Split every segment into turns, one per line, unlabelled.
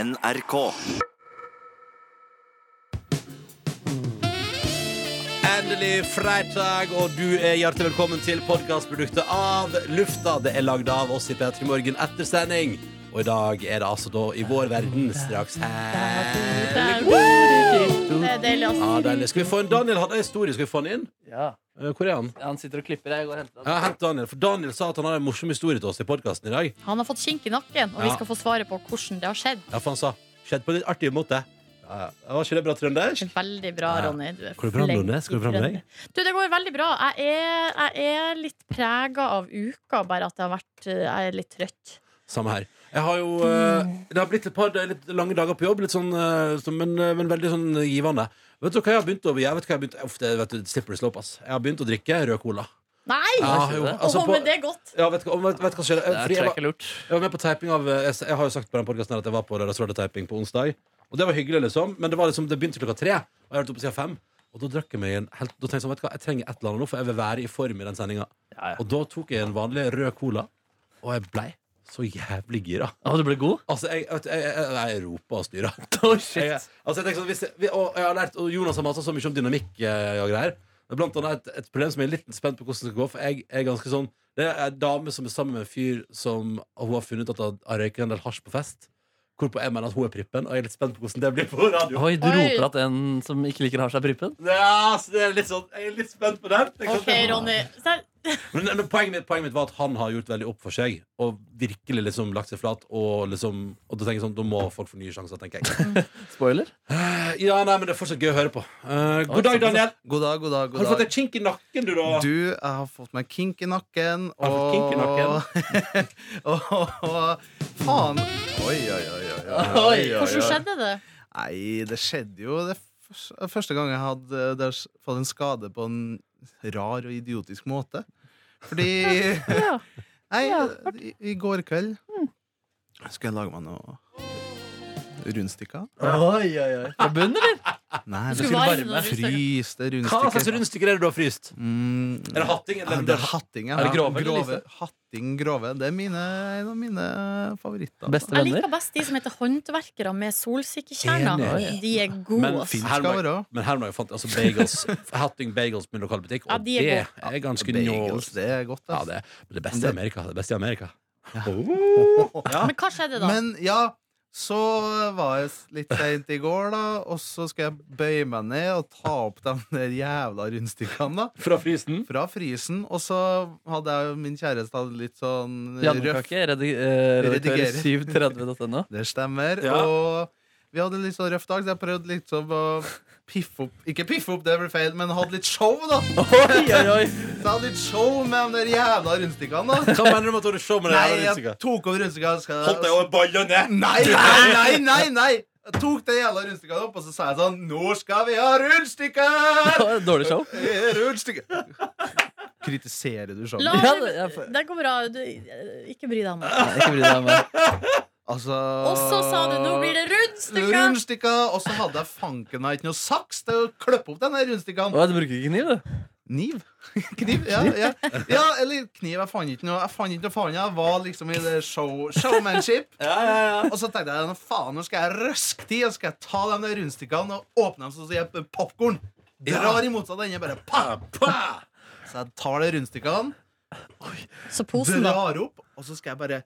NRK.
Endelig fredag, og du er hjertelig velkommen til podkastproduktet av Lufta. Det er lagd av oss i P3 Morgen etter sending. Og i dag er det altså da i vår verden straks her.
Det er deilig, ass.
Ja, deilig. Skal vi få en Daniel hadde en historie. Skal vi få han inn?
Ja,
Eh, Hvor er han?
han sitter og klipper. Jeg går og henter
Ja, Hent Daniel. For Daniel sa at han hadde en morsom historie til oss i podkasten i dag.
Han har fått kink i nakken, og vi
Ja.
skal få svaret på hvordan det har skjedd.
Ja, for han sa skjedde på en litt artig måte. Ja, ja. Var ikke det bra trøndersk?
Veldig bra,
Ja.
Ronny. Du er
Går det bra,
flink
Ronny? Skal det bra med
i trønder. Du, det går veldig bra. Jeg er, jeg er litt prega av uka, bare at det har vært, eh, jeg er litt trøtt.
Samme her. Jeg har jo, eh, det har blitt et par eh, litt lange dager på jobb, litt sånn, eh, som- men, eh, men veldig sånn givende. Vet du hva jeg har begynt å gjøre? Vet du hva jeg har begynt, uff, det, vet du, slipper slope, ass. Jeg har begynt å drikke rød cola.
Nei!
Ja, jo, altså
Åh,
på-
men det er godt.
Ja, vet du hva- vet, vet du hva som skjedde? Eh,
Det
fordi
tror
jeg
jeg
var-
ikke er lurt.
jeg var med på taping av eh, Jeg, jeg har jo sagt på den podcasten her at jeg var på Lørdagsrådet taping på onsdag. Og det var hyggelig, liksom. Men det, var liksom, det begynte klokka tre. Og jeg har vært oppe siden fem. Og da drakk jeg meg en helt, Da tenkte jeg sånn, vet du hva, jeg trenger et eller annet nå, for jeg vil være i form i den sendinga.
Ja, ja.
Og da tok jeg en vanlig rød cola, og jeg blei så jævlig gira.
Å, du ble god?
Altså, jeg, vet du, jeg, jeg, jeg, jeg roper og styrer.
Oh,
Jeg, altså, jeg tenker sånn, hvis jeg, vi- og jeg har lært, og Jonas har masa så mye om dynamikk eh, og greier. Det er Blant annet et, et problem som jeg er litt spent på hvordan det skal gå. For jeg er ganske sånn Det er en dame som er sammen med en fyr som og hun har funnet ut at han har røyka en del hasj på fest. Hvorpå jeg mener at hun er prippen, og jeg er litt spent på hvordan det blir på radio.
Oi, du
Oi.
roper at en som ikke liker har seg prippen?
Ja, så det er litt sånn, jeg er litt spent på den. Tenk at
OK,
det-
Ronny. Så-
Men, men poenget, mitt, poenget mitt var at han har gjort veldig opp for seg og virkelig liksom lagt seg flat. Og, liksom, og da tenker jeg sånn, da må folk få nye sjanser, tenker jeg.
Spoiler.
Eh, Ja, nei, men det er fortsatt gøy å høre på. Eh, god dag,
såpass.
Daniel.
God dag, god dag,
Har du
god
fått
dag.
en kink i nakken, du, da?
Du, jeg har fått meg kink i nakken.
Har du fått kink i
nakken? faen. Oi, oi, oi. oi, oi, oi, oi.
Hvordan skjedde det?
Nei, det skjedde jo det først- første gang jeg hadde det har s- fått en skade på en rar og idiotisk måte. Fordi
Ja.
Nei,
Ja,
i, i går kveld
Mm.
skulle jeg lage meg noe rundstykker.
Oi, oi, oi. Fra bunnen, eller?
Ah,
Nei,
Du
det
skulle sånn varme noen rundstykker.
Fryste
Hva slags
rundstykker.
rundstykker er det du har fryst?
Mm,
Er det hatting?
Ja,
Eller
det er hatting, ja.
Er det grove
Ja,
eller lyse?
Hatting, grove. Det er mine, en av mine favoritter. altså.
Beste
Jeg
venner.
liker best de som heter håndverkere med solsikkekjerner.
Enig.
De er gode.
Men
ass.
fin-
Skal være.
Men her må jeg fant altså bagels. Hatting bagels med lokalbutikk. Og
Ja, de er
det er ganske
Bagels,
njås.
det er godt. altså.
Ja,
ass.
det, er det beste i Amerika. Det beste i Amerika. Oh. Ja.
Men hva skjedde da?
Men ja, så var jeg litt seint i går, da, og så skal jeg bøye meg ned og ta opp de der jævla rundstykkene, da.
Fra frysen?
Fra frysen. Og så hadde jeg min kjæreste hadde litt sånn røff
Jannekake, redi- eh, redaktør
Redigerer.
730.no.
Det stemmer.
Ja.
Og vi hadde en litt sånn røff dag, så jeg prøvde liksom å piffe opp Ikke piffe opp, det blir feil, men hadde litt show, da.
Oi, oi, oi.
Så jeg hadde litt show med de der jævla rundstykkene, da.
Hva mener du med at du show med det
Nei,
her
jeg
rundstykket?
tok over rundstykkene. skal jeg-
Holdt deg over ballene!
Nei, nei, nei, nei, nei! Jeg tok det jævla rundstykket opp, og så sa jeg sånn Nå skal vi ha rundstykker!
Dårlig show.
Rundstykker. Kritiserer du sånn?
La,
Ja, det- ja, for-
det går bra. Du, eh, ikke bry deg om det.
Nei, Ikke bry deg om meg.
Altså
Og så sa du 'nå blir det rundstykker'!
Rundstykker. Og så hadde jeg fanken meg ikke noe saks til å klippe opp den der rundstykken.
Å, Du bruker ikke kniv, du?
Kniv? kniv? Ja, ja. ja, eller kniv. Jeg fant ikke noe. Jeg fant ikke noe faen. Jeg var liksom i det show, showmanship. Og så tenkte jeg "Nå faen, nå skal jeg røske til, og skal jeg ta de der rundstykkene og åpne dem sånn som jeg popkorn. Drar i motsatt ende. Bare pa, pa! Så jeg tar de rundstykkene,
Så posen, da.
drar opp, og så skal jeg bare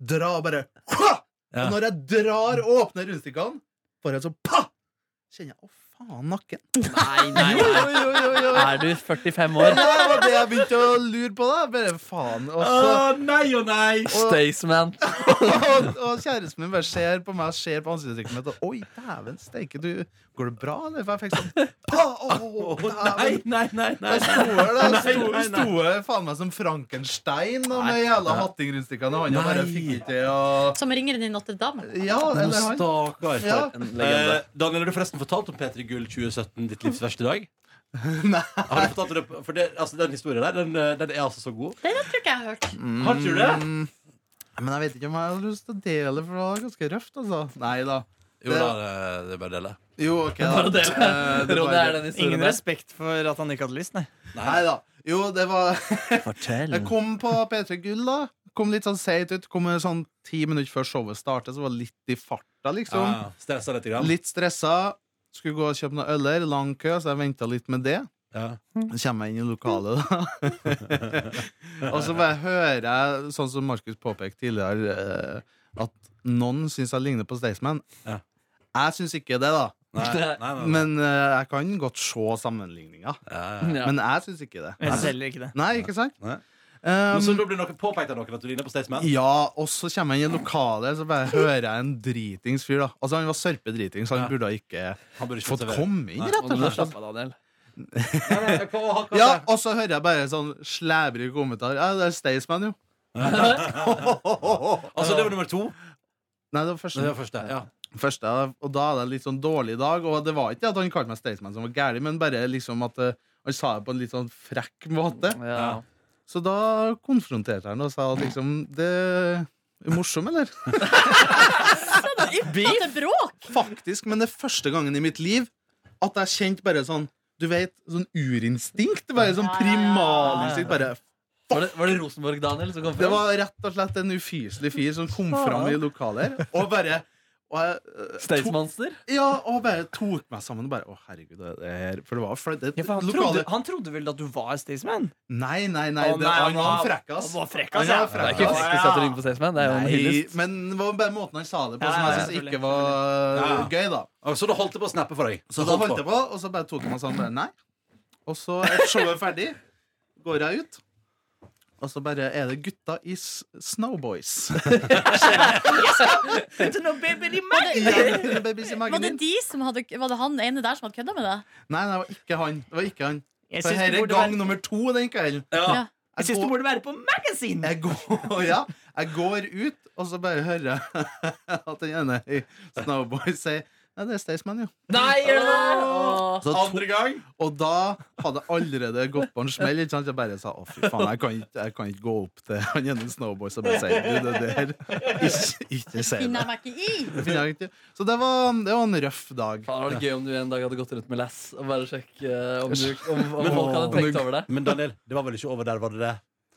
dra og bare ha!
Ja.
Og når jeg drar og åpner rundstykkene, får jeg sånn pa! Kjenner jeg å, faen, nakken.
Nei, nei,
Jo,
nei.
jo, jo, jo.
Er du 45 år?
Ja, det var det jeg begynte å lure på, da. Bare faen. Og, så,
Å, nei og nei!
Staysman.
og, og kjæresten min bare ser på meg, ser på ansiktsuttrykket mitt, og oi, dæven steike, du Går det bra, eller? For jeg fikk sånn pa, å,
Nei,
dæven.
nei, nei, nei.
Jeg sto her, da.
Nei,
Sto,
nei, nei.
sto her faen meg som Frankenstein da, med jævla hattingrundstykkene i hånda. Bare
Nei.
fikk ikke til å
Som ringeren i Notre-Dame.
Ja,
Å,
eller han.
Stakkar.
Ja.
En legende.
Eh, Daniel, har du forresten fortalt om P3 Gull 2017, ditt livs verste dag?
Nei.
Har du fortalt om det? på- For det, altså, den historien der, den, eh, den er altså så god.
Det tror ikke jeg har hørt.
Har du det?
Mm. Men jeg vet ikke om jeg har lyst til å dele, for det var ganske røft, altså. Nei da.
Jo da, det- det er bare å dele.
Jo, ok, da.
Bare å dele.
Eh, det
Ronny
var-
er den historien
Ingen
der.
respekt for at han ikke hadde lyst, nei.
Nei da. Jo, det var
Mm.
Fortell.
Jeg kom på P3 Gull, da. kom litt sånn seigt ut. Kom eh, sånn ti minutter før showet startet, så var det litt i farta, liksom.
Ja, Stressa litt. Grann.
Litt stressa. Skulle gå og kjøpe noen øler. Lang kø, så jeg venta litt med det.
Ja.
Mm.
Så kommer jeg inn i lokalet, da. og så bare hører jeg, sånn som Markus påpekte tidligere, eh, at noen syns jeg ligner på Staysman.
Ja.
Jeg syns ikke det, da.
Nei, nei, nei, nei.
Men eh, jeg kan godt se sammenligninga.
ja, ja.
Ja.
Men jeg syns ikke det.
Jeg synes heller ikke det.
Nei, ikke sant?
Nei.
Um,
Men så da blir noe påpekt av noen at du ligner på Staysman?
ja, og så kommer jeg inn i lokalet, så bare hører jeg en dritings fyr, da. Altså, han var sørpedritings, han
Ja.
burde ikke
Han burde ikke
fått
servere.
komme inn,
Nei.
rett og
Nå må du
slett.
slappe av, Daniel.
Nei, nei, hva- hva- hva-
Ja, og så hører jeg bare sånn slæbrig kommentar. Ja, det er Staysman, jo.
Altså, det var nummer to.
Nei, det var
Det var
første.
første, ja.
første og da hadde jeg en litt sånn dårlig dag. Og det var ikke at han kalte meg Staysman som var gæren, men bare liksom at eh, han sa det på en litt sånn frekk måte.
Ja.
Så da konfronterte jeg han og sa at liksom Det er morsom, eller?
At det er bråk!
Faktisk, men det er første gangen i mitt liv at jeg kjente bare sånn Du vet, sånn urinstinkt. Bare sånn
Ja, ja, ja.
primalinstinkt. Bare
Var, det, var det Rosenborg, Daniel, som kom
Det
fram?
var rett og slett en ufyselig fyr som kom fram i lokalet her, og bare og jeg, eh, tok-
Staysmonster?
Ja, og bare tok meg sammen og bare Å, herregud, det det her For det var flaut. det-
Ja, for han,
lokalet-
trodde, han trodde vel at du var Staysman?
Nei, nei, nei.
Å,
det,
nei,
han
han
var
var-
frekkas.
han var frekkas,
altså.
Han
ja.
var
Det er ikke
frekkas.
frekk at du ringer på Staysman. Det er jo en
Nei,
hyllest.
men det var bare måten han sa det på,
Ja,
som
ja,
jeg syns
selvfølgelig.
ikke var
Ja.
gøy, da.
Og Så da holdt det på å snappe for deg?
Så da holdt jeg på, og så bare tok han meg sånn bare, Nei. Og så er showet ferdig. Går jeg ut. Og så bare er det gutta i S- Snowboys.
Var det,
Babies i
var
magen
det,
min.
de som hadde, var det han ene der som hadde kødda med deg?
Nei, nei, det var ikke han. Det var ikke han.
Jeg
For
syns
dette
du
er
burde
gang
være-
nummer to den kvelden.
Ja.
Ja.
jeg syns du burde være på Magazine!
Jeg går, ja, jeg går ut, og så bare hører jeg at den ene i Snowboys sier Nei, det er Staysman, jo.
Nei, gjør det! Åh.
Så to,
Andre gang?
og da hadde jeg allerede gått på en smell. Ikke sant? Jeg bare sa å, fy faen, jeg kan ikke, jeg kan ikke gå opp til han ene Snowboys og bare si du, det der Ikke, ikke si det.
Finner jeg meg ikke i!
Det finner jeg ikke. Så det var, det var en røff dag.
Faen, det var det gøy om du en dag hadde gått rundt med lass og bare sjekke eh, om, du, om, om folk hadde tenkt over det.
Men Daniel, det var vel ikke over der, var det det?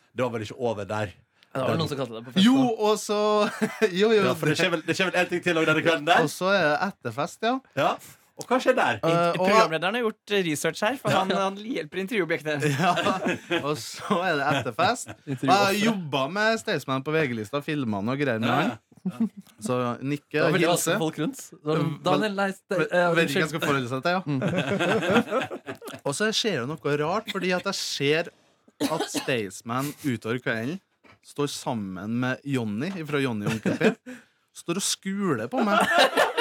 Det var vel ikke over der?
Det var vel noen som kalte deg på
Jo,
festen.
og så Jo, jo.
Ja, for det skjer vel, det skjer vel en ting til også denne kvelden der?
Og så er det etterfest, ja.
Ja. Og hva skjer der?
Eh, og-
har gjort
eh,
research her, for han, hjelper intervjuobjektene.
Ja, og så er det etterfest. Og jeg jobba med Staysman på VG-lista, filma han og greier med han. Så nikke
Det
og
var veldig
hilse.
vanskelig folk rundt. Så var det, Daniel, nei, det,
Vet vet
eh,
ikke hva jeg
unnskyld.
skal forholde seg til, ja. Og så skjer det noe rart, fordi at jeg ser at Staysman utover kvelden står sammen med Jonny fra Jonny og Onkel P. Står og skuler på meg.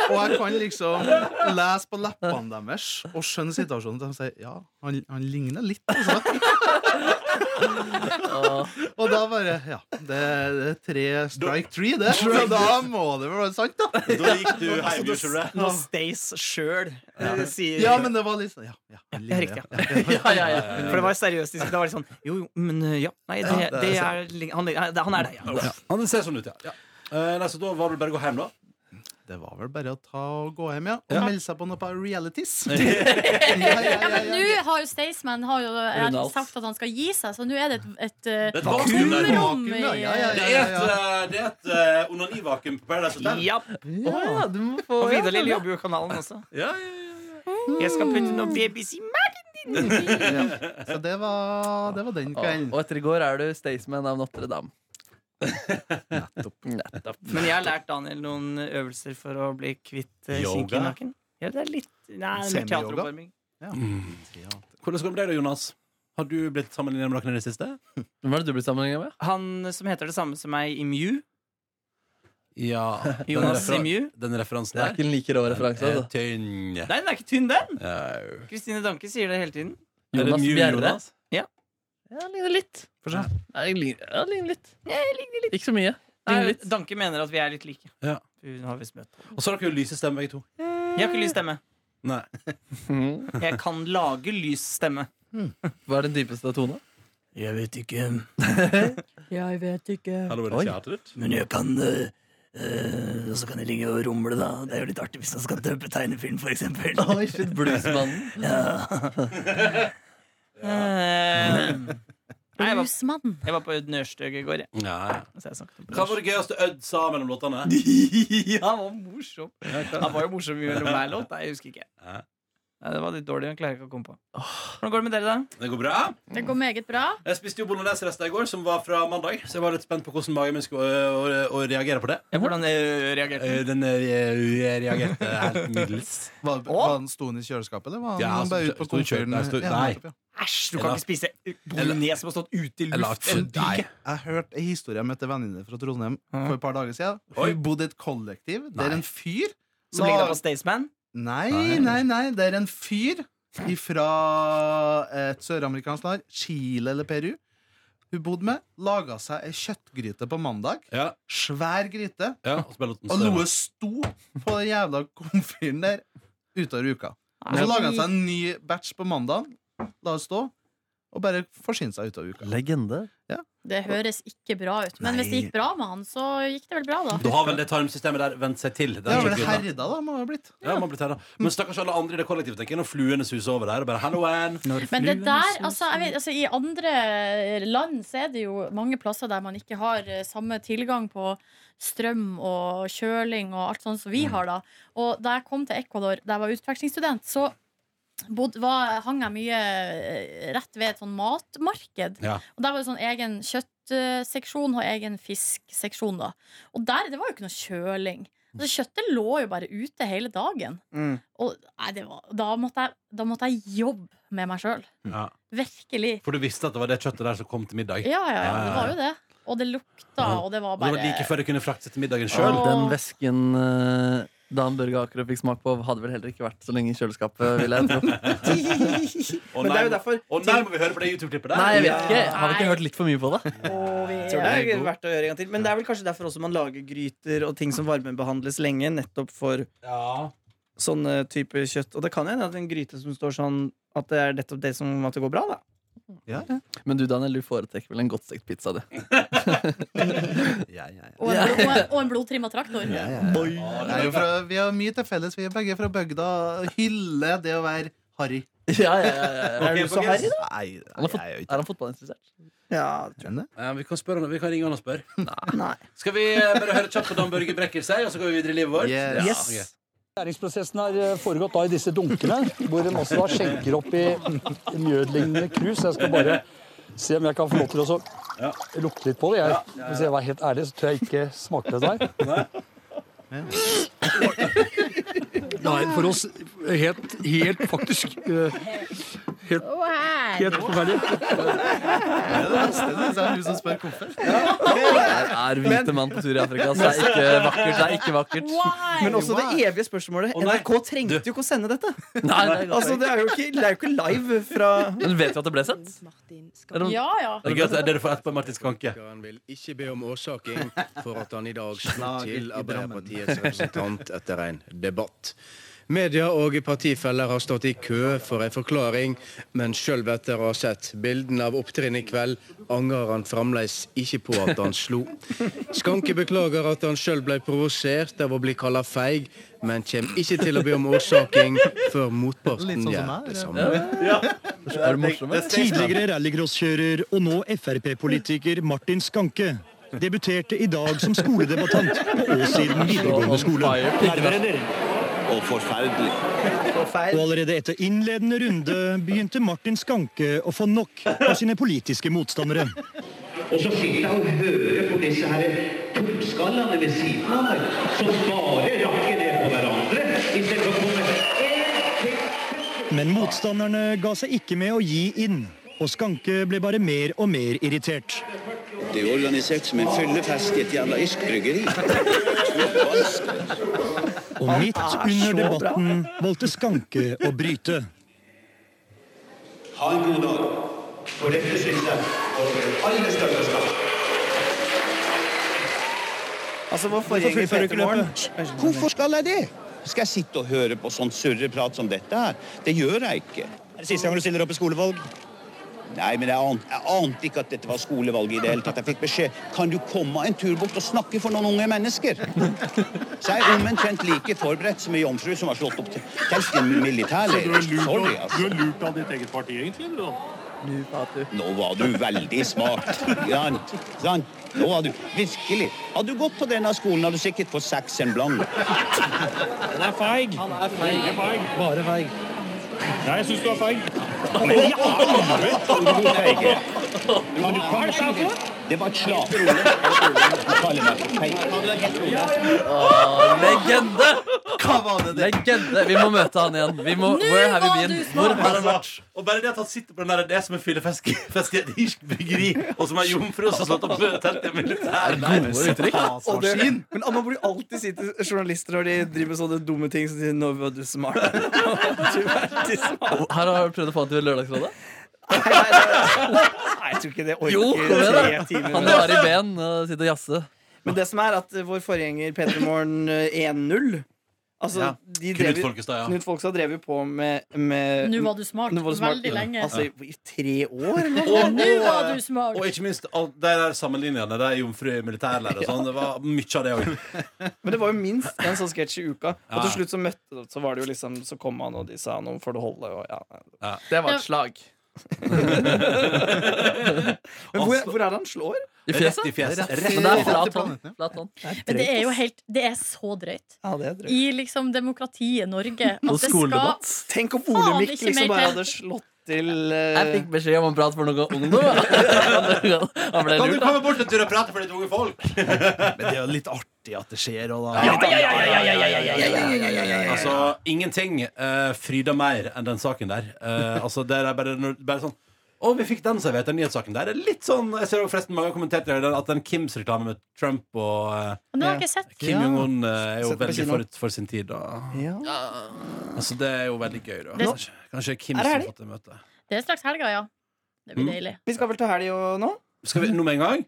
Og jeg kan liksom lese på leppene deres og skjønne situasjonen. De sier ja, han, han ligner litt, altså.
Åh.
Og da bare Ja, det, det er tre strike three, det. Så da må det vel være sant, da.
Da gikk du
Altså,
hjem, gjorde du det?
Når Stace sjøl eh, sier
Ja, men det var litt sånn Ja, ja, han
Ja,
ligner,
riktig,
ja.
Ja, ja, ja.
For det var seriøst. Det var litt sånn Jo, jo, men eh, ja. Nei, det,
Ja, det er-
det er, li- han, er- han er deg, ja.
Han ser sånn ut, ja. ja. Eh, nei, så da var det bare å gå hjem, da?
Det var vel bare å ta og gå hjem, ja. Og
Ja.
melde seg på noe på realities. ja, ja,
Ja,
ja,
men
ja.
nå har jo Staysman har jo eh,
Runde alt.
sagt at han skal gi seg, så nå er det et,
Det er
et,
et
eh,
vakuum der.
tomrom i
Ja, ja, ja.
Det er et, eh, det er et eh, onanivakuum på Paradise Hotel.
Ja.
Åh, ja, du må få
Og
ja,
Vidar Lill
sånn, ja.
jobber jo i kanalen også.
Ja, ja, ja.
Jeg skal putte noen babies i meg.
Så det var, det var den kvelden.
Åh, Og etter i går er du Staysman av Notre-Dame.
Men jeg har lært Daniel noen øvelser for å bli kvitt eh,
Yoga?
kinky naken. Ja, det er litt Nei, mer
Semi-yoga?
teateroppvarming.
Mm. Hvordan går det med deg da, Jonas? Har du blitt sammenlignet med noen i det siste?
Hvem var det du ble sammenlignet med?
Han som heter det samme som meg i Mew,
Ja.
Jonas i Mew.
Den referansen
Det er
der.
ikke en like rå referanse.
Er
Altså.
tynn.
Nei, den er ikke tynn, den!
Au.
Kristine Danke sier det hele tiden.
Er det
Jonas
Mew,
Bjerre.
Jonas?
Ja.
Ja, han ligner litt.
Få se.
Ja, jeg ligner, ja, jeg ligner litt. Ikke så mye.
Nei,
Ligner litt.
Danke mener at vi er litt like.
Ja.
Hun har visst møtt på.
Og så har dere jo lyse stemmer, begge to.
Jeg har ikke lys stemme.
Nei.
Jeg kan lage lys stemme.
Hva er den dypeste tona?
Jeg vet ikke,
Jeg vet ikke.
Hallo, er
Oi.
det teateret ditt?
men jeg kan Og så kan jeg ligge og rumle, da. Det er jo litt artig hvis man skal døpe tegnefilm, for eksempel.
Oi, shit, Bluesmannen.
Eh,
Nei, jeg var-
Bluesmann.
Jeg var på Aud Nørstøg i går, jeg.
Ja.
Så jeg snakket om
Hva var det gøyeste Ødd sa mellom låtene?
Ja, han var morsom. Han var jo morsom i mellom hver låt. Nei, jeg husker ikke.
Ja.
Nei, det var litt dårlig. Jeg klarer ikke å komme på. Hvordan går det med dere, da?
Det går bra.
Det går meget bra.
Jeg spiste jo bolognese-rester i går, som var fra mandag. Så jeg var litt spent på hvordan magen min skulle øh, øh, øh, reagere på det.
Hvordan eh, reagerte
Øh,
du?
Den øh, øh, reagerte helt middels.
Var, var den stående i kjøleskapet, eller var den
Ja,
bare
stod-
ute på
stod i kjø-
komfyren?
nei, stod-
Ja,
nei.
nettopp, ja.
Æsj, du kan ikke spise bolognese som har stått ute i
Jeg la
luft en
Nei.
uke.
Jeg hørte en historie om en venninne fra Trondheim
Ja.
for et par dager siden.
Oi.
Hun bodde i et kollektiv der
Nei.
en fyr
Som ligner på Staysman.
Nei,
Nei.
nei, nei. Det er en fyr fra et søramerikansk land, Chile eller Peru, hun bodde med, laga seg ei kjøttgryte på mandag.
Ja,
Svær gryte.
ja, og så ble låten
Og
større.
noe sto på den jævla komfyren der utover uka. Og så laga han seg en ny batch på mandag, la det stå, og bare forsynte seg utover uka.
Legende.
Det høres ikke bra ut. Men hvis det gikk bra med han, så gikk det vel bra, da.
Da har vel det tarmsystemet der vent seg til.
Det
Den
er vel
kjøttgryta.
herda, da, må det ha blitt.
ja, man blir terra. Men stakkars alle andre i det kollektivet tenker jeg, når fluene suser over der. Og bare, Hello, Ann.
Men det der, altså, jeg vet, altså I andre land så er det jo mange plasser der man ikke har eh, samme tilgang på strøm og kjøling og alt sånt som vi har, da. Og da jeg kom til Ecuador, da jeg var utvekslingsstudent, så Bod, var, hang jeg mye eh, rett ved et sånn matmarked.
Ja.
Og Der var det sånn egen kjøttseksjon og egen fiskseksjon. da Og der det var jo ikke noe kjøling. Altså, kjøttet lå jo bare ute hele dagen.
Mm.
Og nei, det var, da, måtte jeg, da måtte jeg jobbe med meg sjøl.
Ja.
Virkelig.
For du visste at det var det kjøttet der som kom til middag.
Ja, ja, ja, det var jo det. Og det lukta, og det var
Og det
bare
var like før jeg kunne frakte til middagen
Åh.
sjøl.
Den væsken eh, Dan Børge Akerø fikk smak på, hadde vel heller ikke vært så lenge i kjøleskapet. Vil jeg tro.
Og
Men det
nei,
er jo derfor
å nei, må vi høre på det YouTube-klippet der?
Nei, jeg vet ikke. Har
Nei.
vi ikke hørt litt for mye på det?
Å, vi-
tror det
Det er
er
god.
verdt å gjøre en gang til. Men det er vel kanskje derfor også man lager gryter og ting som varmebehandles lenge, nettopp for
Ja.
sånne typer kjøtt. Og det kan hende at en gryte som står sånn, at det er nettopp det som at det går bra, da.
Men du, Daniel, du foretrekker vel en godt stekt pizza, du.
Ja, ja, ja.
Og en, blod, og en, og en blodtrimma traktor.
Ja, ja, ja. Det er jo fra, vi har mye til felles. Vi er begge fra bygda. Hylle det å være harry.
Ja, ja, ja, ja.
Ok,
er du så
folkens.
herre, da?
Nei,
Han har
nei,
fått-
jeg er jo
Er han fotballinteressert?
Ja,
ikke det.
Ja, Eh, vi, kan spørre, han- vi kan ringe han og spørre.
nei.
Skal vi eh, bare høre kjapt på Dan Børge Brekker seg, og så går vi videre i livet vårt?
Yes.
Ja,
Yes.
ok.
Næringsprosessen har eh, foregått da i disse dunkene, hvor en også da skjenker opp i mjødlignende krus. Jeg skal bare se om jeg kan få lov til å så lukte litt på det. Jeg, hvis jeg var helt ærlig, så tror jeg ikke smakte det der. Nei, for oss helt, helt faktisk eh, Helt, helt forferdelig.
Det er det beste. Det er hun som spør hvorfor.
Der er hvite mann på tur i Afrika, så det er ikke vakkert. Det er ikke vakkert.
Why?
Men også det evige spørsmålet.
Å, nei.
NRK trengte jo ikke å sende dette.
Nei, det er
Altså,
godt.
det er jo ikke, det er jo ikke live fra
Men vet vi at det ble sendt? Eller-
Ja, ja.
Det er gøy at dere får etterpå Martin Skanke.
Han vil ikke be om årsaking for at han i dag slo
Slaget i
til
Drammen.
Arbeiderpartiets representant etter en debatt. Media og partifeller har stått i kø for en forklaring, men sjøl etter å ha sett bildene av opptrinnet i kveld, angrer han fremdeles ikke på at han slo. Skanke beklager at han sjøl ble provosert av å bli kalla feig, men kommer ikke til å be om årsaking før
Litt
motparten
sånn som
gjør
meg,
det
ja.
samme.
Er det morsomt?
Tidligere rallycrosskjører og nå Frp-politiker Martin Skanke debuterte i dag som skoledebattant på Åssiden videregående skole.
og forferdelig.
Og allerede etter innledende runde begynte Martin Skanke å få nok av sine politiske motstandere.
Og så sitter han og hører på disse her tullskallene ved siden av meg, som bare rakker ned på hverandre istedenfor å komme en til.
Men motstanderne ga seg ikke med å gi inn. Og Skanke ble bare mer og mer irritert.
Det er jo organisert som en fyllefest i et jævla irsk bryggeri.
Og midt under debatten valgte Skanke å bryte.
Ha en god dag. For dette synes jeg var det aller største skam.
Altså, vår forgjenger
Hvorfor
Peter
fullfører
Morn
Hvorfor skal jeg det? Skal jeg sitte og høre på sånn surreprat som dette her? Det gjør jeg ikke.
Er det siste gang du stiller opp i skolevalg?
Nei, men jeg ante, jeg ante ikke at dette var skolevalg i det hele tatt. Jeg fikk beskjed kan du komme en tur bort og snakke for noen unge mennesker. Så jeg er omtrent like forberedt som ei jomfru som har slått opp til- telt i en militærleir. Sorry, altså.
lurt av ditt eget parti, egentlig?
Nu, Fatu.
Nå var du veldig smart. Sant? Sant? Nå var du virkelig Hadde du gått på denne skolen, hadde du sikkert fått seks en blank.
Han er feig. Han er feig. Bare feig. Nei, jeg syns du er feig.
Men i alle dager!
Hva er det for?
Det var et slag. Du kaller meg for feig.
Åh, legende!
Hva var det?
Legende! Vi må møte han igjen. Vi må, where have you been? Hvor har han vært?
Altså, Og bare det at han sitter på den der, det er som en fyllefisk fisk i et irsk bryggeri, og som er jomfru og så slått opp telt i militæret.
Og det- Men man burde jo alltid si til journalister når de driver med sånne dumme ting, så sier de 'Nå var du smart'.
Her har jeg prøvd å få han til Lørdagsrådet.
Nei, jeg tror ikke det orker
Jo, kom igjen,
tre
da!
timer.
Han drar i ben og sitter og jazzer.
Men det som er at eh, vår forgjenger Peter Morn eh, 1-0 Altså,
Ja.
de
Knut
drev, jo-
Folkestad, ja.
Knut Folkestad drev jo på med, med
Nå var du smart.
Nå var du smart.
Veldig lenge.
Altså,
Ja.
i tre år, eller
Og,
noe?
og, og ikke minst all, de der sammenligningene. De er jomfru i militærlære og sånn. Det var mye av det òg.
Men det var jo minst en sånn sketsj i uka. Og
Ja.
til slutt så møtte Så var det jo liksom Så kom han, og de sa 'nå får du holde', og ja.
Det var et slag.
Men hvor, hvor er det han slår?
I fjeset? Rett i fjeset. Rett- Men det er flat hånd. Flat hånd.
Men det er jo helt Det er så drøyt.
Ja, det er drøyt.
I liksom demokratiet Norge. at det skal
Tenk om
faen
Ole Mikk
ikke
liksom
mer
bare
til.
hadde slått til eh,
Jeg fikk beskjed om å prate for noe ungdom. Han ble
Kan du
lurt,
komme
da.
bort en tur og prate for ditt unge folk?
Men det er jo litt artig at det skjer. Og da.
Ja, ja, ja, Altså, ingenting eh, fryder mer enn den saken der. Eh, altså, det er bare, når- bare sånn Å, vi fikk den, så jeg vet, den nyhetssaken der. Det er litt sånn, Jeg ser jo forresten mange har kommentert det, den- at den Kims-reklame med Trump og eh,
Men det har jeg ikke sett.
Kim
Ja.
Jong-un eh, er jo
Sett på
veldig
kino.
forut for sin tid. Da. Altså, det er jo veldig gøy, da.
Det-
Kanskje, kanskje Kim
Er det
som
helg?
fått det møtet.
Det er straks helga, ja. Det blir
Mm.
deilig.
Vi skal vel ta helg og nå?
Skal vi noe med en gang?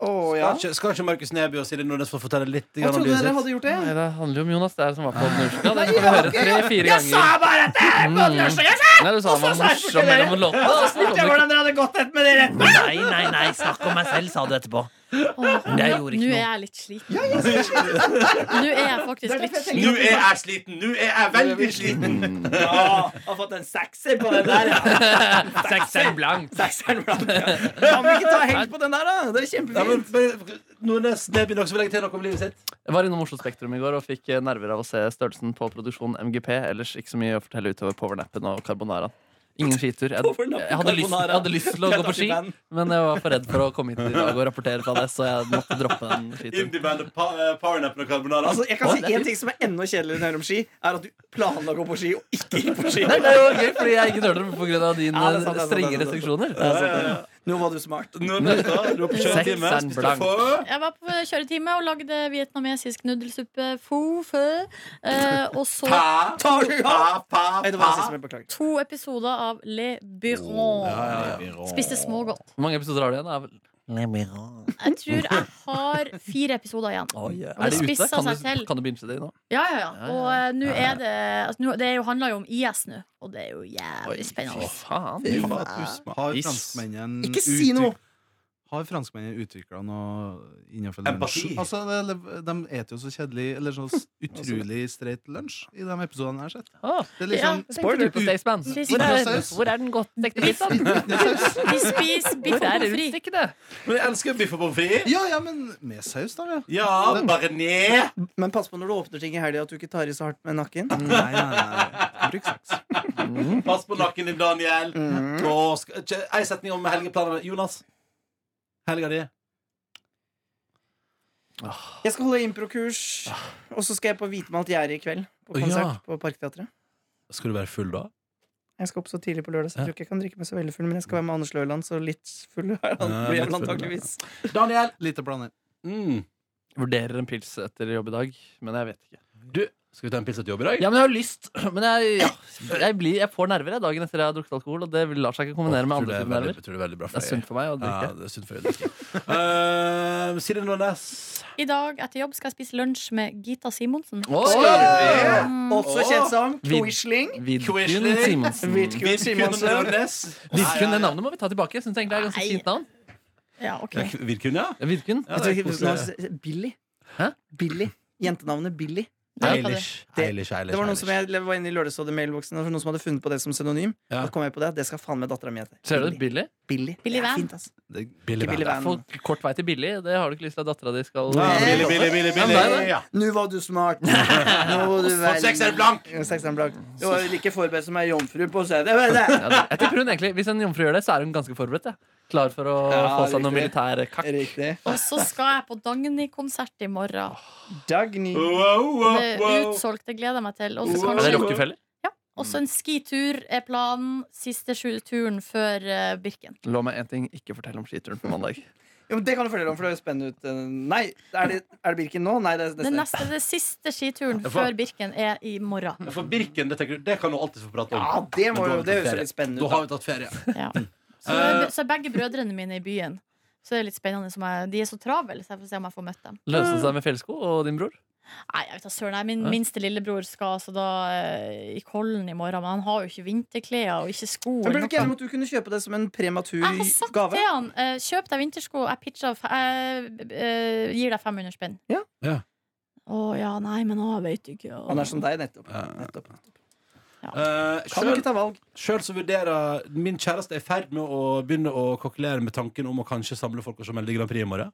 Å,
Skal
ja.
ikke, skal ikke Markus Neby og Silje Nordnes få fortelle litt
Jeg
grann om
trodde
livet
dere
sitt?
hadde gjort det.
Nei, det handler jo om Jonas der som var på den urska. Den skal vi høre tre-fire
Jeg sa
ganger.
bare at det er på den norske, jeg sa!
Nei, du sa
Og så
han var
sa jeg
morsom
dere.
mellom låtene.
Og så spurte jeg hvordan dere hadde gått etter med dere.
Nei, nei, nei. Snakk om meg selv, sa du etterpå. Men jeg gjorde
Nå
ikke
er
noe.
jeg litt sliten. Nå er jeg faktisk litt sliten.
jeg sliten! Nå er jeg veldig sliten!
Ja, har fått en sekser på den der.
Sekseren blank.
Sekseren blank, ja. Kan vi ikke ta helg på den der, da? Det er kjempefint.
Nordnes Neby, noen som vil legge til noe om livet sitt?
Jeg var innom Oslo Spektrum i går og fikk eh, nerver av å se størrelsen på produksjonen MGP. Ellers ikke så mye å fortelle utover Powernappen og Carbonara. Ingen skitur. Jeg, jeg, hadde lyst, jeg hadde lyst til å gå på ski, men jeg var for redd for å komme hit i dag og rapportere fra det, så jeg måtte droppe den skituren.
Indiebandet Powernappen og Carbonara.
Altså, jeg kan si En ting som er enda kjedeligere enn å høre om ski, er at du planla å gå på ski og ikke gikk på ski.
Nei, det er jo gøy, fordi jeg ikke turte det pga. dine
Ja, det er sant, det er sant,
strenge
det er sant, det er sant.
restriksjoner.
Det er sant, det er sant. Nå var du smart.
Nå er det da. Du er på kjøretime,
Sekseren
spiste
blank.
få.
Jeg var på kjøretime og lagde vietnamesisk nudelsuppe fo fø. Eh, og så
Tar du av? Nei, det var rasisme, beklager.
to episoder av Le Biron. Spiste smågodt.
Hvor mange episoder har du igjen? Det er vel-
Jeg tror jeg har fire episoder igjen. Og
Er
det
de ute?
spissa
Kan
seg
du,
til.
kan du binge det nå?
Ja, ja, ja. Og eh, nå er det altså, nå- Det er jo- handler jo om IS nå, og det er jo jævlig spennende.
faen.
Har franskmennene
Ikke si noe!
utviklet- Har franskmennene utvikla noe innenfor
Empati.
lunsjen? Altså, det- de eter jo så kjedelig Eller så utrolig streit lunsj i de episodene jeg har sett. Det er liksom
Ja, spoiler sånn- på Staysman. Hvor, er den? Hvor er den godt stekte pizzaen?
De spiser biff
Hvor er
og
det
fri.
rundstykket, det?
Men jeg elsker biff og pommes frites.
Ja, ja, men med saus, da. Ja.
Ja, bearnés.
Men pass på når du åpner ting i helga, at du ikke tar i så hardt med nakken.
Nei, nei, nei. Bruk saks.
Pass på nakken din, Daniel. Og sk- kjø- En setning om helgeplanene. Jonas, helga di?
Jeg skal holde improkurs, og så skal jeg på hvitmalt gjerde i kveld. På
Å, ja.
konsert på Parkteatret.
Skal du være full da?
Jeg skal opp så tidlig på lørdag, så jeg tror ikke jeg kan drikke meg så veldig full. Men jeg skal være med Anders Løiland, så litt full er han
Ja,
blir
litt
han
full, ja.
antakeligvis.
Daniel?
Lite planer.
Mm.
Vurderer en pils etter jobb i dag, men jeg vet ikke.
Du, skal vi ta en pils etter jobb i dag?
Ja, men jeg har lyst, men jeg, ja, jeg, blir, jeg får nerver jeg, dagen etter jeg har drukket alkohol, og det lar seg ikke kombinere med
Tror det er
andre typer
veldig-
nerver.
tror det er veldig bra
Det er sunt for meg å drikke.
Ja, det er sunt for deg å drikke. Eh, Silje Nordnes.
I dag etter jobb skal jeg spise lunsj med Gita Simonsen.
Eh, Også kjent som Quisling.
Vidkun Simonsen.
Vidkun Simonsen.
Vidkun, det navnet må vi ta tilbake. Jeg synes egentlig det er et ganske
Nei.
fint navn.
Ja, ok.
Ja, Vidkun, ja?
Ja,
Ja,
Vidkun.
det er
Jeg tror ikke-
koselig.
nå- Billy.
Hæ?
Billy. Jentenavnet Billy. Nei,
Eilish,
det-
Eilish, Eilish,
Det var noen
Eilish.
som jeg jeg var inne i lørdagsrådet-mailboksen og det var noen som hadde funnet på det som synonym.
Ja.
Da kom jeg på det. Det skal faen meg dattera mi hete.
Ser du det? Billy?
Billy.
Billy
Det er
Van.
fint, ass.
Billy
Ikke Billy
Det er
Van.
for kort vei til Billy. Det har du ikke lyst til at dattera di skal
Nei,
Billy,
Billy,
Billy,
Ja, men det er det. Nå var du smart. Nå var du
Og sekseren blank.
Ja, sekseren blank. Du var like forberedt som ei jomfru på CD. men det-
Ja, det- jeg tipper hun egentlig Hvis en jomfru gjør det, så er hun ganske forberedt. Ja. Klar for å
Ja,
få seg noe
riktig.
militær kakk.
Riktig.
Og så skal jeg på Dagny-konsert i morgen.
Dagny.
Det er utsolgt, det gleder jeg meg til. Og så
Er det
kanskje-
Rockefeller?
Mm.
Og så en skitur er planen. Siste sju- turen før eh, Birken.
La meg en ting ikke fortelle om skituren på mandag.
Jo, men det kan du fortelle om, for det høres spennende ut. Nei, er det, er det Birken nå? Nei, det er
Den
neste.
neste, det siste skituren
Ja, for-
før Birken er i morgen.
For Birken, det, tenker du, det kan du alltid få prate om.
Ja, det,
Men
må,
da har
jo-
vi tatt
det høres jo
ferie.
litt spennende
Da
ut.
har vi tatt ferie.
Ja. Så,
Eh.
så er begge brødrene mine i byen. Så det er litt spennende. Som jeg, de er så travle, så jeg får se om jeg får møtt dem.
Løste det seg med fjellsko og din bror?
Nei, jeg vet da søren. nei, Min minste lillebror skal altså da eh, i Kollen i morgen, men han har jo ikke vinterklær og ikke sko.
Men
eller
Ble det
noe.
ikke enig om at du kunne kjøpe det som en prematur
Jeg har sagt
gave?
til han eh, kjøp deg vintersko, jeg pitcher f- jeg eh, gir deg 500 spenn.
Ja.
Ja.
Å ja, nei, men å, jeg veit ikke. å.
Han er sånn- som deg, nettopp.
Ja.
nettopp.
Eh,
Kan du
selv-
ikke ta valg?
Sjøl så vurderer min kjæreste er i ferd med å begynne å kokkelere med tanken om å kanskje samle folk og se Melodi Grand Prix i morgen.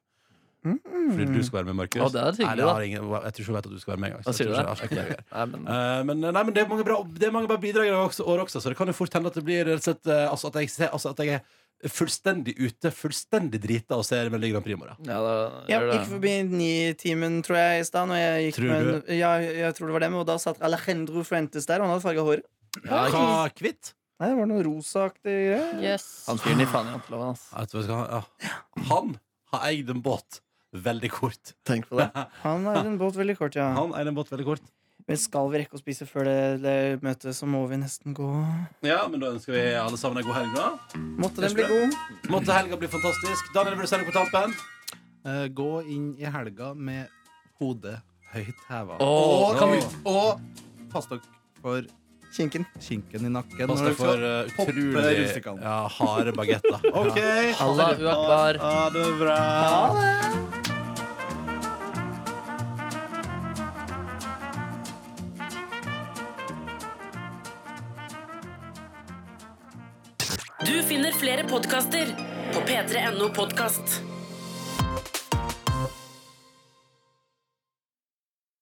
Mm. Fordi du skal være med, Markus.
Å, det er hyggelig,
Nei, det har ingen, jeg tror ikke hun vet at du skal være med engang. så
Hva sier
jeg
du
tror ikke- jeg sjekker
der?
det.
Nei, men,
Eh, Men, nei, men det er mange bra, det er mange bra bidrag i også- år også, så det kan jo fort hende at det blir rett og slett, eh, altså, at, jeg ser, altså, at jeg er fullstendig ute, fullstendig drita og ser Melodi Grand Prix i morgen.
ja, da,
Jeg
gjør
gikk
det.
forbi Ni-timen, tror jeg, i stad. Når jeg gikk
Tror
med en, ja, jeg tror det var dem, og da satt Alejandro Fuentes der, og han hadde farga hår.
Hva kvitt?
Nei, det var noe rosaaktig greier.
Jøss.
Han fyren i faen i janteloven, ass.
Ja, vet du hva jeg skal ha? Ja. Han har eid en båt veldig kort.
Tenk på det.
Han er en båt veldig kort, ja.
Han eide en båt veldig kort.
Men skal vi rekke å spise før det, det møtet, så må vi nesten gå.
Ja, men da ønsker vi alle sammen en god helg, da.
Måtte den bli god.
Måtte helga bli fantastisk. Daniel, vil du sende på tampen?
Eh, gå inn i helga med hodet høyt heva.
Åh,
og,
kan
og pass dere for
Kinken.
kinken i nakken.
Pass
når dere skal
deg for eh,
poppe
utrolig
rullestykkene.
ja, harde bagetter. OK!
Allah uakbar.
Ha det bra.
Du finner flere podkaster på p3.no podkast.